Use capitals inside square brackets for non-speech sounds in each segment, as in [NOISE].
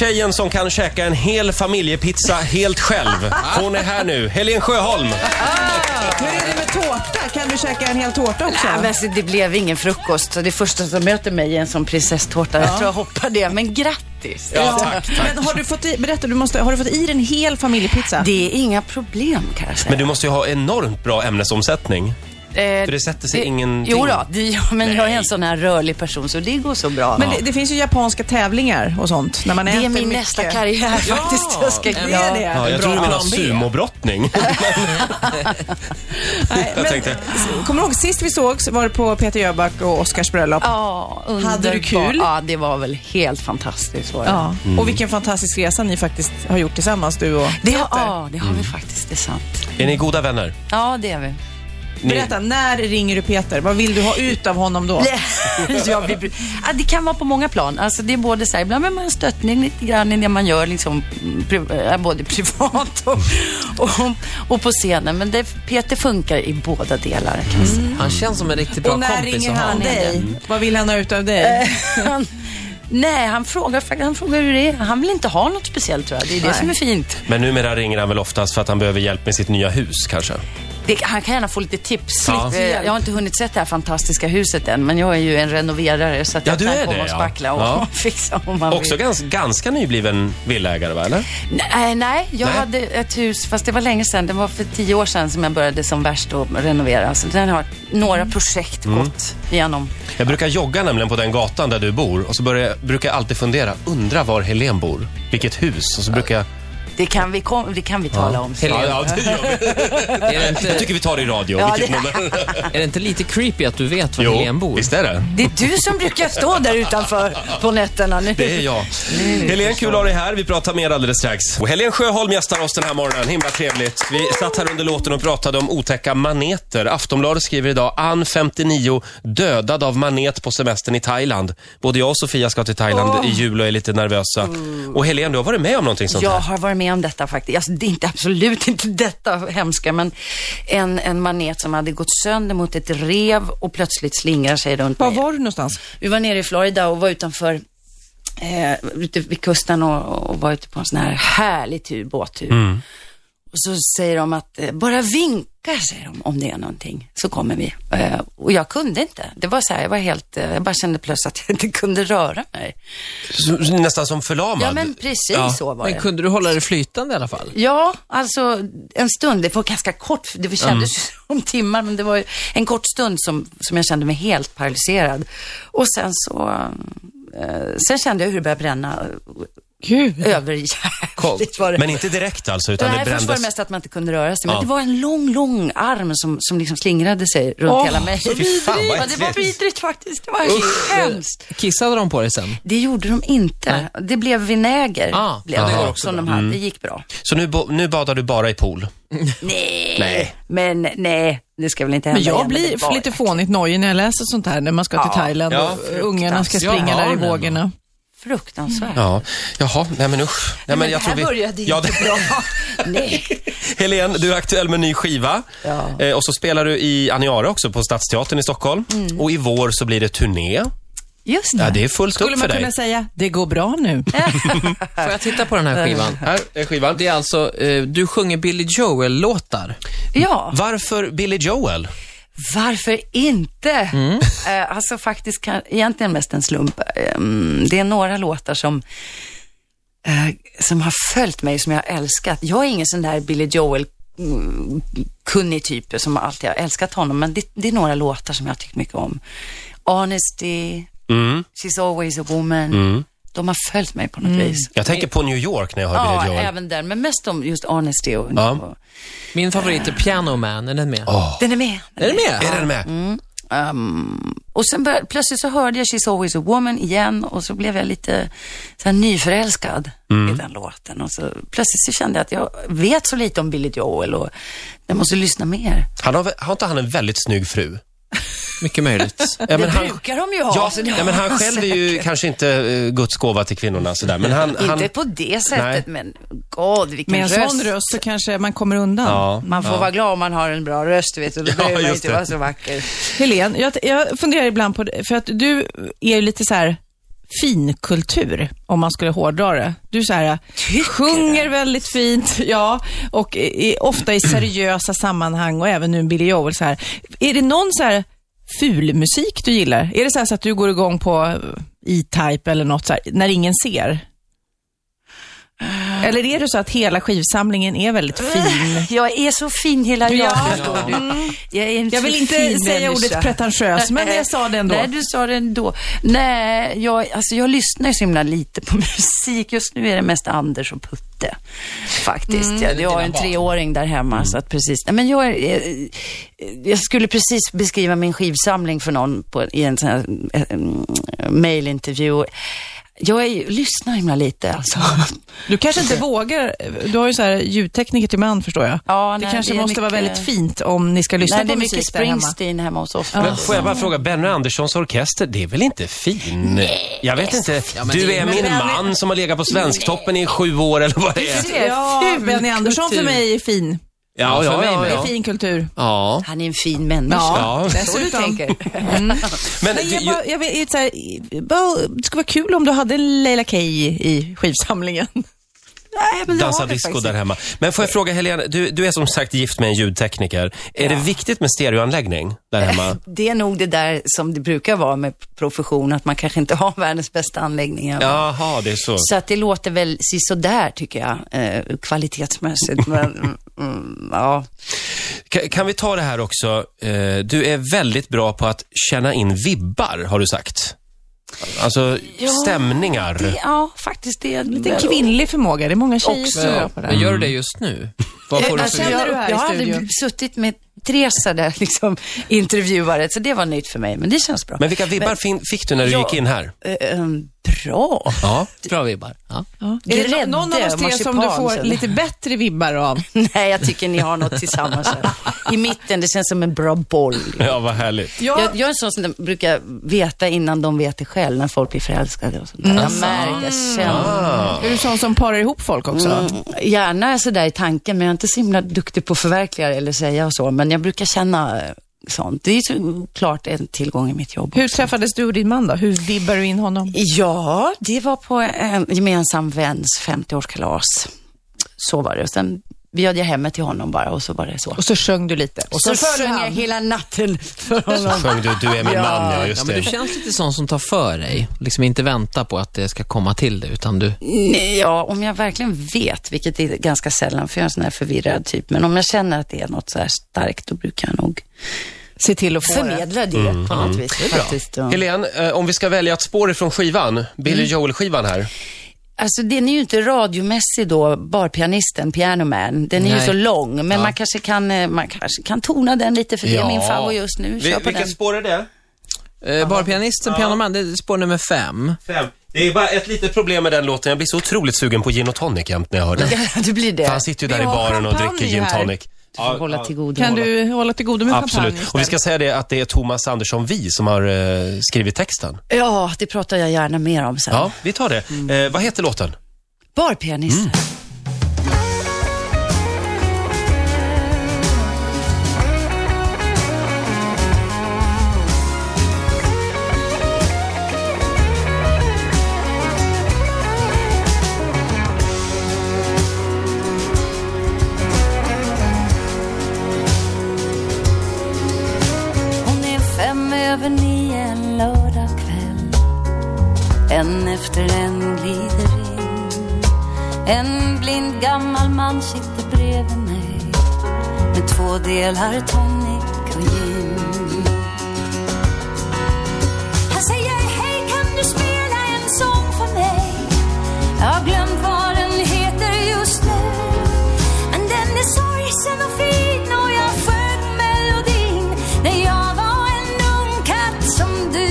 tjejen som kan käka en hel familjepizza helt själv. Hon är här nu, Helen Sjöholm. Hur är det med tårta? Kan du käka en hel tårta också? Nej, men alltså, det blev ingen frukost. Så det första som möter mig är en sån prinsesstårta. Jag tror jag hoppar det, men grattis. Ja, tack, tack. Men har du fått i, berätta, du måste, har du fått i dig en hel familjepizza? Det är inga problem kan jag säga. Men du måste ju ha enormt bra ämnesomsättning. Eh, För det sätter sig eh, ingenting. Jo då, det, ja, men jag är Nej. en sån här rörlig person så det går så bra. Men det, det finns ju japanska tävlingar och sånt. När man det äter är min mycket. nästa karriär faktiskt. Jag ska, det är det. Ja, jag tror du menar Plan B. [LAUGHS] sumobrottning. Nej, Jag men tänkte- Kommer du ihåg sist vi sågs var det på Peter Jöback och Oscars bröllop? Ja, underbar. Hade du kul? Ja, det var väl helt fantastiskt. Var det. Ja. Och vilken fantastisk resa ni faktiskt har gjort tillsammans du och Det, har- Peter. ja, det har vi faktiskt. Det är sant. är ni goda vänner? Ja, det är vi. Ni, Berätta, när ringer du Peter? Vad vill du ha ut av honom då? [LAUGHS] ja, vi, ja, det kan vara på många plan. Alltså, det är både så här, ibland behöver man en stöttning lite grann i det man gör, liksom, pri, eh, både privat och, och, och på scenen. Men det, Peter funkar i båda delar. Kan jag säga. Han känns som en riktigt bra och när kompis ringer att ha. han han är dig? Vad vill han ha ut av Eh. dig? Han, Mm. nej, han frågar, fakt- han frågar hur det är. Han vill inte ha något speciellt, tror jag. Det är det Nej. som är fint. men numera ringer han väl oftast för att han behöver hjälp med sitt nya hus kanske? Det, han kan gärna få lite tips. Ja. Lite, eh, jag har inte hunnit sett det här fantastiska huset än, men jag är ju en renoverare så att Ja, jag du är kan det, komma och ja. spackla och Ja. [LAUGHS] fixa om man Också vill. gans, ganska nybliven villaägare va, eller? Nej, eh, nej, jag Nej. hade ett hus, fast det var länge sedan. Det var för tio år sedan som jag började som värst att renovera. Så den har några Mm. projekt gått igenom. Jag brukar jogga nämligen på den gatan där du bor och så börjar, jag- brukar jag alltid fundera, undra var Helen bor? Vilket hus? Och så brukar jag... Det kan vi, kom, det kan vi tala om. sen. Hel- Ja, ja, det gör vi. Är det, Jag inte, tycker vi tar det i radio. Ja, Vilket det- [LAUGHS] nummer? är det inte lite creepy att du vet var Helen bor? visst är det. Det är du som brukar stå där utanför på nätterna nu. Det är jag. Helen, kul att ha dig här. Vi pratar mer alldeles strax. Och Helen Sjöholm gästar oss den här morgonen. Himla trevligt. Vi satt här under låten och pratade om otäcka maneter. Aftonbladet skriver idag Ann, 59, dödad av manet på semestern i Thailand. Både jag och Sofia ska till Thailand i jul och är lite nervösa. Mm. Och Helen, du har varit med om någonting sånt Jag här. har varit med om detta faktiskt. Alltså, det är inte, absolut inte detta hemska, men en, en manet som hade gått sönder mot ett rev och plötsligt slingrar sig runt Var mig. var du någonstans? Vi var nere i Florida och var utanför eh, ute vid kusten och, och var ute på en sån här härlig tur, båttur. Och så säger de att, eh, bara vinka säger de om det är någonting, så kommer vi. Eh, och jag kunde inte. Det var så här, jag var helt, eh, jag bara kände plötsligt att jag inte kunde röra mig. Så- Nästan som förlamad. Ja men precis Ja. så var Men det. kunde du hålla dig flytande i alla fall? Ja, alltså en stund. Det var ganska kort, för det kändes Mm. [LAUGHS] som timmar, men det var ju en kort stund som, som jag kände mig helt paralyserad. Och sen så, eh, sen kände jag hur det började bränna Gud. överjävligt. Var det. Men inte direkt alltså, utan Nej, det först var brändes. det mest att man inte kunde röra sig, men Ja. det var en lång, lång arm som, som liksom slingrade sig runt Åh, hela mig. fy fan, vad Ja, det var äckligt. vidrigt faktiskt. Det var hemskt. Kissade de på dig sen? Det gjorde de inte. Det blev vinäger, Ah, blev ja, det det, går också som de hade. Mm. Det gick bra. Så nu, bo- nu badar du bara i pool. Nej. Nej. Men nej, det ska väl inte hända Men jag igen, blir det var- lite fånigt nojig när jag läser sånt här när man ska till Thailand Ja, och eh, ungarna ska fruktansvärt. springa Jag där i har den. vågorna. Fruktansvärt. Ja. Jaha, nej men usch. Nej, men jag det här tror vi... började ju Ja, inte det- [LAUGHS] bra. nej. Helen, du är aktuell med ny skiva. Ja. Eh, och så spelar du i Aniara också på Stadsteatern i Stockholm. Mm. Och i vår så blir det turné. Just Ja, det. det är fullt Skulle upp man för dig. kunna säga, det går bra nu. Får jag titta på den här skivan? Här är skivan. Det är alltså, eh, du sjunger Billy Joel-låtar. Ja, Varför Billy Joel? varför inte? Mm. Eh, alltså faktiskt kan, egentligen mest en slump. Ehm, det är några låtar som, eh, som har följt mig, som jag har älskat. Jag är ingen sån där Billy Joel mm, kunnig typ som alltid har älskat honom, men det, det är några låtar som jag har tyckt mycket om. Honesty, Mm. She's always a woman. De har följt mig på något vis. Jag tänker på New York när jag hör Ja, Billy Joel. även den, men mest om just Honesty och, Ja. och Min favorit är Piano Man, är den med? Den är med. Är den med? Är den med? Mm. Ehm, och sen började, plötsligt så hörde jag She's always a woman igen och så blev jag lite så här, nyförälskad Mm. i den låten. Och så, plötsligt så kände jag att jag vet så lite om Billy Joel och jag måste lyssna mer. Han har, väl- har inte han en väldigt snygg fru? [LAUGHS] Mycket möjligt. Ja, det men han, brukar de ju ha. ja, så det- ja, men han själv är ju kanske inte eh, Guds gåva till kvinnorna sådär. Men han, han, Inte på det sättet, men god vilken Med en röst. sån röst så kanske man kommer undan. ja. Man får vara glad om man har en bra röst, vet du. [LAUGHS] Då Ja, behöver man just inte det. vara så vacker. Helen, jag, jag funderar ibland på det, för att du är ju lite så här finkultur, om man skulle hårdra det. Du så här, sjunger väldigt fint, [LAUGHS] ja, och i, i, ofta i seriösa sammanhang och även nu Billy Joel. Så här. Är det någon så här fulmusik du gillar? Är det så, här så att du går igång på eh, E-Type eller något så här, när ingen ser? Eller är det så att hela skivsamlingen är väldigt Eh. fin? [LAUGHS] Jag är så fin hela jag, Ja. förstår du. Jag, är en Jag vill så inte fin säga människa. ordet pretentiös, men jag sa det ändå. Nej, du sa det ändå. Nej, jag, alltså jag lyssnar ju så himla lite på [LAUGHS] musik. Just nu är det mest Anders och Putte, faktiskt. Mm. Jag, jag har en treåring där hemma, så att precis. Nej, men jag, är- eh, jag skulle precis beskriva min skivsamling för någon på, i en sån här eh, mm, mailintervju. Jag är, ju- lyssnar himla lite, alltså. Du kanske inte vågar, du har ju så här ljudtekniker till man förstår jag. Ja, det nej, kanske det är måste vara mycket- väldigt fint om ni ska lyssna Nej, det är på mycket musik där hemma. Springsteen hemma hos oss. Men får jag bara fråga, Benny Anderssons orkester, det är väl inte fin? Nej, jag vet inte. men du det- är men min Benny- man som har legat på Svensktoppen i sju år eller vad det är. Ja, Benny Andersson för kultur. mig är fin. Ja, ja, ja, Det är ja. fin kultur. [LAUGHS] Ja. Han är en fin människa. Ja. Så du tänker. Mm. Men Nej, du, jag, bara, jag vet, jag, så här, bara, det skulle vara kul om du hade en Leila K i skivsamlingen. Nej, men jag har dansa det disco faktiskt där hemma. Men får jag fråga Helene, du, du är som sagt gift med en ljudtekniker. Är det viktigt med stereoanläggning där [LAUGHS] hemma? Det är nog det där som det brukar vara med profession, att man kanske inte har [LAUGHS] världens bästa anläggningar. Jaha, det är så. Så att det låter väl sisådär, tycker jag, eh, kvalitetsmässigt. Men, mm, ja. Ka- Kan vi ta det här också? Eh, Du är väldigt bra på att känna in vibbar, har du sagt. Alltså stämningar. Det, ja, faktiskt. Det [LAUGHS] är Det är en kvinlig förmåga, det är många tjejer Också. som är bra på det. Men gör Mm. du det just nu? Vad får du alltså, Alltså, för Känner jag, du här i jag har aldrig studion? suttit med tre sådär liksom, intervjuare, så det var nytt för mig, men det känns bra. Men vilka vibbar fin- fick du när du Ja. gick in här? Eh, eh, bra. [LAUGHS] Ja. Bra vibbar. Ja. Är det Grädde, nå- någon av oss tre som du marsipan, får sen. lite bättre vibbar [LAUGHS] av? Nej, jag tycker ni har något tillsammans. här. I mitten, det känns som en bra boll. Ja, vad härligt. Jag, Jag, jag är en sån som brukar veta innan de vet det själv, när folk blir förälskade och sånt där. Jag märker, jag känner. Är du sån som parar ihop folk också? Mm. Gärna sådär i tanken, men jag är inte så himla duktig på att förverkliga det eller säga och så, men jag brukar känna eh, sånt. Det är ju klart en tillgång i mitt jobb. Hur träffades du och din man då? Hur vibbar du in honom? Ja, det var på en gemensam väns 50-årskalas. Så var det. Och sen bjöd jag hemmet till honom bara och så var det så. Och så sjöng du lite. Och så, sjöng jag hela natten för honom. Sjöng du Du är min man, ja Ja, just men du det. känns lite sån som tar för dig. Liksom inte vänta på att det ska komma till dig, utan du... Nej, Ja, om jag verkligen vet, vilket är ganska sällan, för jag är en sån här förvirrad typ, men om jag känner att det är något så här starkt, då brukar jag nog Se till att få det. förmedla det på något vis. Faktiskt. ja. Helene, eh, om vi ska välja ett spår ifrån skivan, Billy Joel-skivan här. Alltså, den är ju inte radiomässig då, barpianisten, Piano Man. Den är ju Nej. så lång, men man, kanske kan, eh, man kanske kan tona den lite, för det är min favorit just nu. Vi, Kör på vilket den. [LAUGHS] spår är det? Eh, barpianisten, pianoman, det är spår nummer fem. Fem. Det är bara ett litet problem med den låten. Jag blir så otroligt sugen på gin och tonic jämt när jag hör den. det blir det. Han sitter ju där Vi i har baren och champagne dricker gin här. tonic. Ja, Hålla till godo. Kan du hålla till godo med champagne Absolut. Och vi istället? ska säga det att det är Thomas Andersson Vi som har eh, skrivit texten. Ja, det pratar jag gärna mer om sen. Ja, vi tar det. Eh, vad heter låten? Barpianisten. Hon är fem över nio en lördagkväll. En efter en glider in. En blind gammal man sitter bredvid mig med två delar tonic och gin. Han säger hej, kan du spela en sång för mig? Jag har glömt vad den heter just nu. Men den är sorgsen och fin och jag sjöng melodin när jag var en ung katt som du.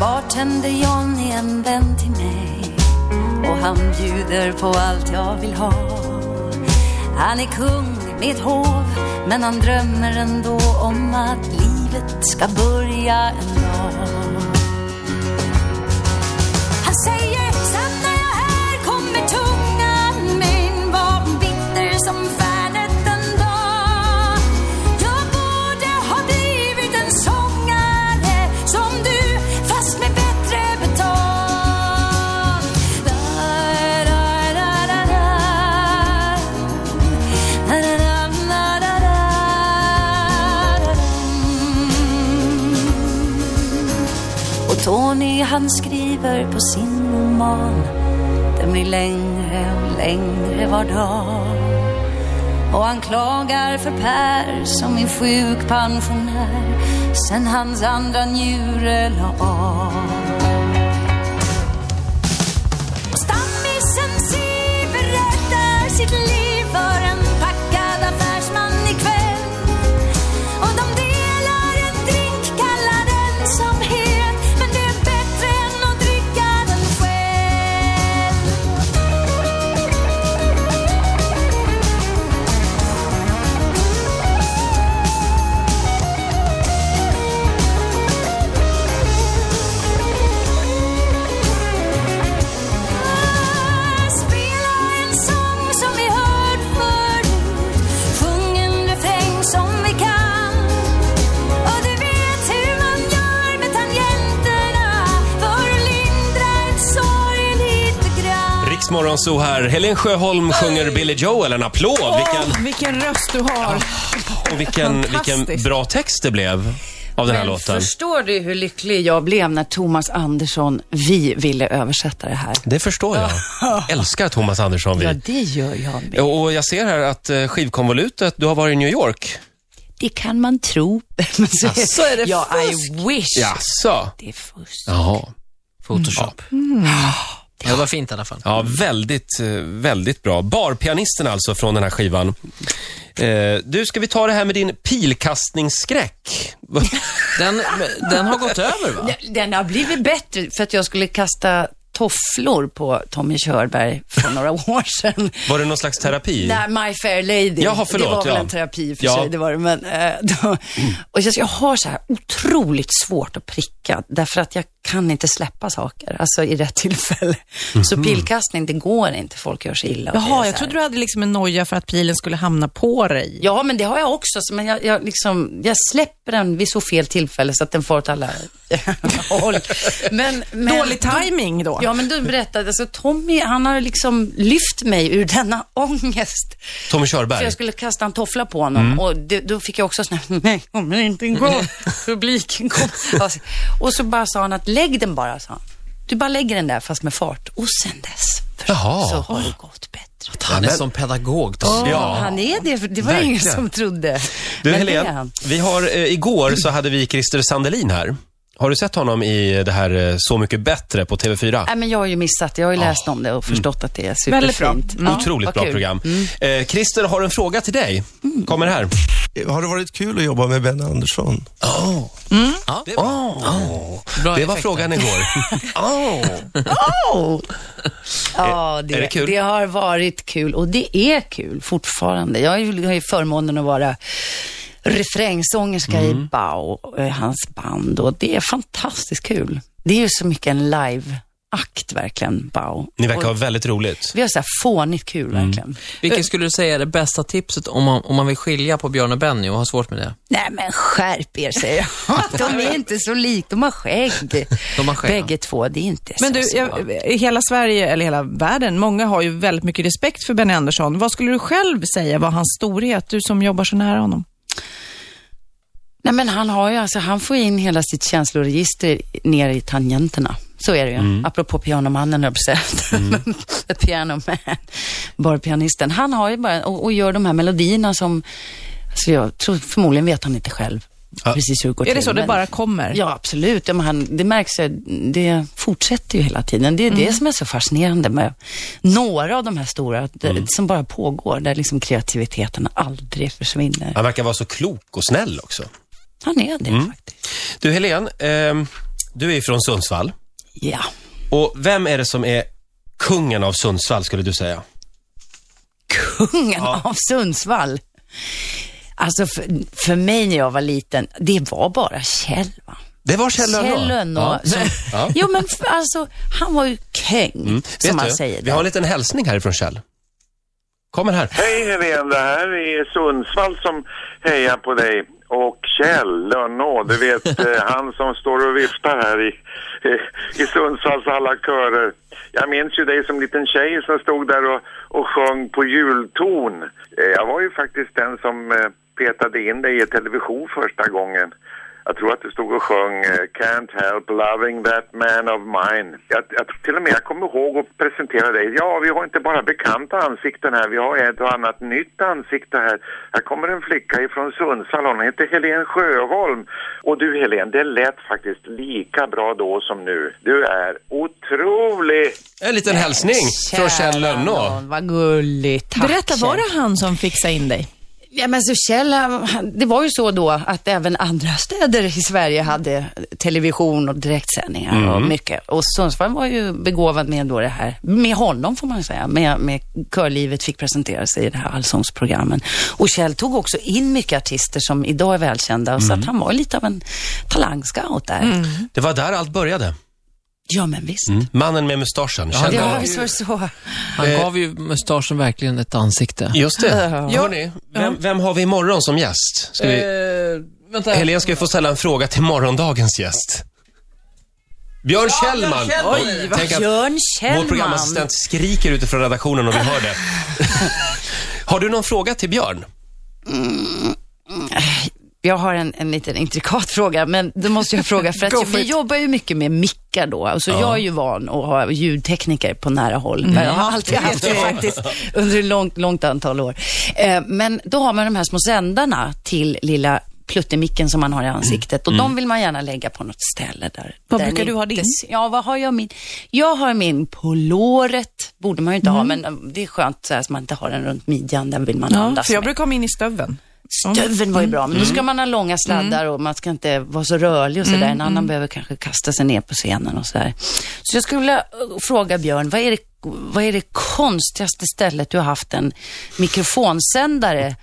bartender John är en vän till mig och han bjuder på allt jag vill ha. Han är kung med ett hov, men han drömmer ändå om att livet ska börja en dag. Han säger sen när jag här kommer tungan min var bitter som färnet en dag. Jag borde ha blivit en sångare som du fast med bättre betalt. Da, da, da, da, da. Da, da, da, da, da, da, da. Och Tony han skriver på sin roman Den blir längre och längre var dag Och han klagar för Per som är sjuk pensionär Sen hans andra njure la av och Stammisen Si berättar sitt liv för en packad affärsman ikväll. Och de delar en drink, kallar den som het, men det är bättre än att dricka den själv. Spela en sång som vi hört förut, sjung en refräng som vi kan. Och du vet hur man gör med tangenterna för att lindra en sorg lite grann. Riksmorgon så här. Helen Sjöholm sjunger Billy Joel. En applåd! Vilken, Åh, vilken röst du har. och vilken, vilken fantastiskt. bra text det blev av den här Men låten. Förstår du hur lycklig jag blev när Thomas Andersson, vi, ville översätta det här? Det förstår [LAUGHS] jag. Älskar Thomas Andersson. Ja, Vi. det gör jag med. Och jag ser här att eh, skivkonvolutet, du har varit i New York. Det kan man tro. [LAUGHS] Men så, Asså, är det ja, I wish. Jaså? Det är fusk. Jaha. Photoshop. Mm. Ja, det var fint i alla fall. Ja, väldigt, eh, väldigt bra. Barpianisten alltså från den här skivan. Eh, du, ska vi ta det här med din [LAUGHS] pilkastningsskräck? Den, den har gått över va? Den- Den har blivit bättre för att jag skulle kasta tofflor på Tommy Körberg för några [LAUGHS] år sedan. Var det någon slags terapi? Nej, My Fair Lady. Jaha, förlåt, det var väl ja. en terapi i och för Ja. sig, det var det. Men, eh, då, och jag, jag har så här otroligt svårt att pricka, därför att jag kan inte släppa saker, alltså i rätt tillfälle. Mhm. Så pillkastning, det går inte, folk gör sig illa. och det är så Jaha, här. jag trodde du hade liksom en noja för att pilen skulle hamna på dig. Ja, men det har jag också, så- men jag, jag, liksom, jag släpper den vid så fel tillfälle så att den far åt alla [LAUGHS] håll. Men, men, Dålig timing då. Ja, men du berättade, alltså Tommy, han har liksom lyft mig ur denna [LAUGHS] ångest. Tommy För Körberg? jag skulle kasta en toffla på honom Mm. och det, då fick jag också sån här, [LAUGHS] nej, kommer inte gå. [LAUGHS] Publiken kom. Alltså, och så bara sa han att lägg den bara, sa han. Du bara lägger den där fast med fart. Och sen dess förstås, Jaha. så har det gått bättre. Han är som pedagog. Tom. Ja. Han är det, för det var Verkligen. ingen som trodde. Du Men det är Helene, han. vi har, eh, igår så hade vi Christer Sandelin här. Har du sett honom i det här eh, Så mycket bättre på TV4? Nej, men jag har ju missat det. Jag har ju läst om det och förstått att det är superfint. Väldigt bra. Ja, Mm. Otroligt vad bra kul. Mm. program. Eh, Christer har en fråga till dig. Kommer här. Har det varit kul att jobba med Ben Andersson? Det var, Åh. Bra det var effekt frågan igår. Åh. Ja, det, är det kul? har varit kul och det är kul fortfarande. Jag har ju- har ju förmånen att vara refrängsångerska i Bao, eh, hans band och det är fantastiskt kul. Det är ju så mycket en live-akt verkligen, Bao. Ni [LAUGHS] verkar ha väldigt roligt. Vi har så här fånigt kul verkligen. Vilket skulle du säga är det bästa tipset om man, om man vill skilja på Björn och Benny och har svårt med det? Nej men skärp er säger jag. De är inte så lika, de har skägg. De har skägg, ja. Bägge två, det är inte Men så du, jag, hela Sverige, eller hela världen, många har ju väldigt mycket respekt för Benny Andersson. Vad skulle du själv säga var hans storhet, du som jobbar så nära honom? Nej men han har ju, alltså han får in hela sitt känsloregister ner i tangenterna. Så är det ju. Mm. Apropå pianomannen, höll jag på att säga. [LAUGHS] Pianoman, barpianisten. Han har ju bara, och, och gör de här melodierna som, alltså jag tror, förmodligen vet han inte själv precis hur det går Är det till, så det men- bara kommer? Ja, absolut. Ja, men han, det märks ju, det fortsätter ju hela tiden. Det är Mm. det som är så fascinerande med några av de här stora, att det- Mm. som bara pågår, där liksom kreativiteten aldrig försvinner. Han verkar vara så klok och snäll också. Mm. Han är det faktiskt. Du Helen, ehm, du är från Sundsvall. Ja. Och vem är det som är kungen av Sundsvall skulle du säga? Kungen av Sundsvall. Alltså för, för mig när jag var liten, det var bara Kjell va? Det var Kjell Lönnå. Kjell [LAUGHS] Lönnå. som- Ja. Mm. Jo men f- alltså, han var ju käng, Vet som man du, säger. Vi har en liten hälsning härifrån Kjell. Kommer här. Hej Helene, det här är Sundsvall som hejar på dig. Och Kjell Lönnå, du vet eh, han som står och viftar här i, eh, i Sundsvalls alla körer. Jag minns ju dig som liten tjej som stod där och, och sjöng på julton. Eh, Jag var ju faktiskt den som eh, petade in dig i television första gången. Jag tror att du stod och sjöng eh, Can't help loving that man of mine. Jag, jag, tror till och med jag kommer ihåg att presentera dig. Ja, vi har inte bara bekanta ansikten här, vi har ett och annat nytt ansikte här. Här kommer en flicka ifrån Sundsvall, hon heter Helen Sjöholm. Och du Helen, det lät faktiskt lika bra då som nu. Du är otrolig! En liten hälsning från Kjell Lönnå. nån, Vad gulligt. Tack, Berätta, var Kjell. det han som fixade in dig? Ja, men så Kjell, han- han- det var ju så då att även andra städer i Sverige hade television och direktsändningar och mycket. Och Sundsvall var ju begåvad med då det här, med honom får man säga, med, med körlivet fick presentera sig i det här allsångsprogrammen. Och Kjell tog också in mycket artister som idag är välkända, så att han var lite av en talangscout där. Det var där allt började. Ja, men visst. Mm. Mannen med mustaschen, Kjell Ja, Lönnå. visst var det så. Han gav ju mustaschen verkligen ett ansikte. Just det. Hörrni, vem, vem har vi imorgon som gäst? Ska vi... Eh, vänta. Helene ska ju få ställa en fråga till morgondagens gäst. Björn Kjellman. Oj, Tänk att Björn vår Kjellman. programassistent skriker utifrån redaktionen och vi hör det. [LAUGHS] har du någon fråga till Björn? Jag har en, en liten intrikat [LAUGHS] fråga, men det måste jag fråga för Go att for vi it. jobbar ju mycket med mickar då. Alltså Jag är ju van att ha ljudtekniker på nära håll. Mm. Jag har alltid haft det faktiskt under ett långt, långt antal år. Eh, men då har man de här små sändarna till lilla pluttemicken som man har i ansiktet och de vill man gärna lägga på något ställe där. Mm. Vad där brukar ni du ha inte din? ser- Ja, vad har jag min? Jag har min på låret, borde man ju inte ha, Mm. men eh, det är skönt så här, att man inte har den runt midjan, den vill man andas för jag med. brukar ha min i stöven. Stöveln var ju bra, men då ska man ha långa sladdar och man ska inte vara så rörlig och sådär. En annan behöver kanske kasta sig ner på scenen och sådär. Så jag skulle vilja eh, fråga Björn, vad är det, vad är det konstigaste stället du har haft en mikrofonsändare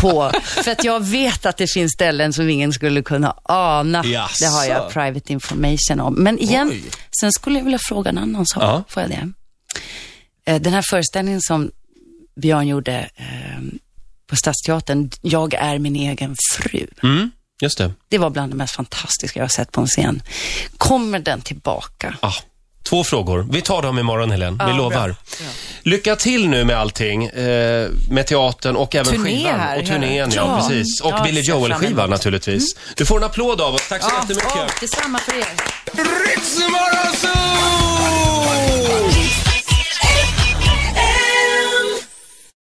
på? För att jag vet att det finns ställen som ingen skulle kunna ana. Jaså. Det har jag private information om. Men igen, sen skulle jag vilja fråga en annan sak. Ja. Får jag det? Eh, Den här föreställningen som Björn gjorde ehm, på Stadsteatern, Jag är min egen fru. Mm, just det. Det var bland det mest fantastiska jag har sett på en scen. Kommer den tillbaka? Ah, två frågor. Vi tar dem imorgon, Helene. Vi lovar. Lycka till nu med allting. Eh, med teatern och även Turné skivan. här, och turnén, ja, ja. precis. Och Ja, Billy ser fram Joel-skivan emot. naturligtvis. Du får en applåd av oss. Tack så jättemycket. Detsamma för er. Ritzmorgonzoo!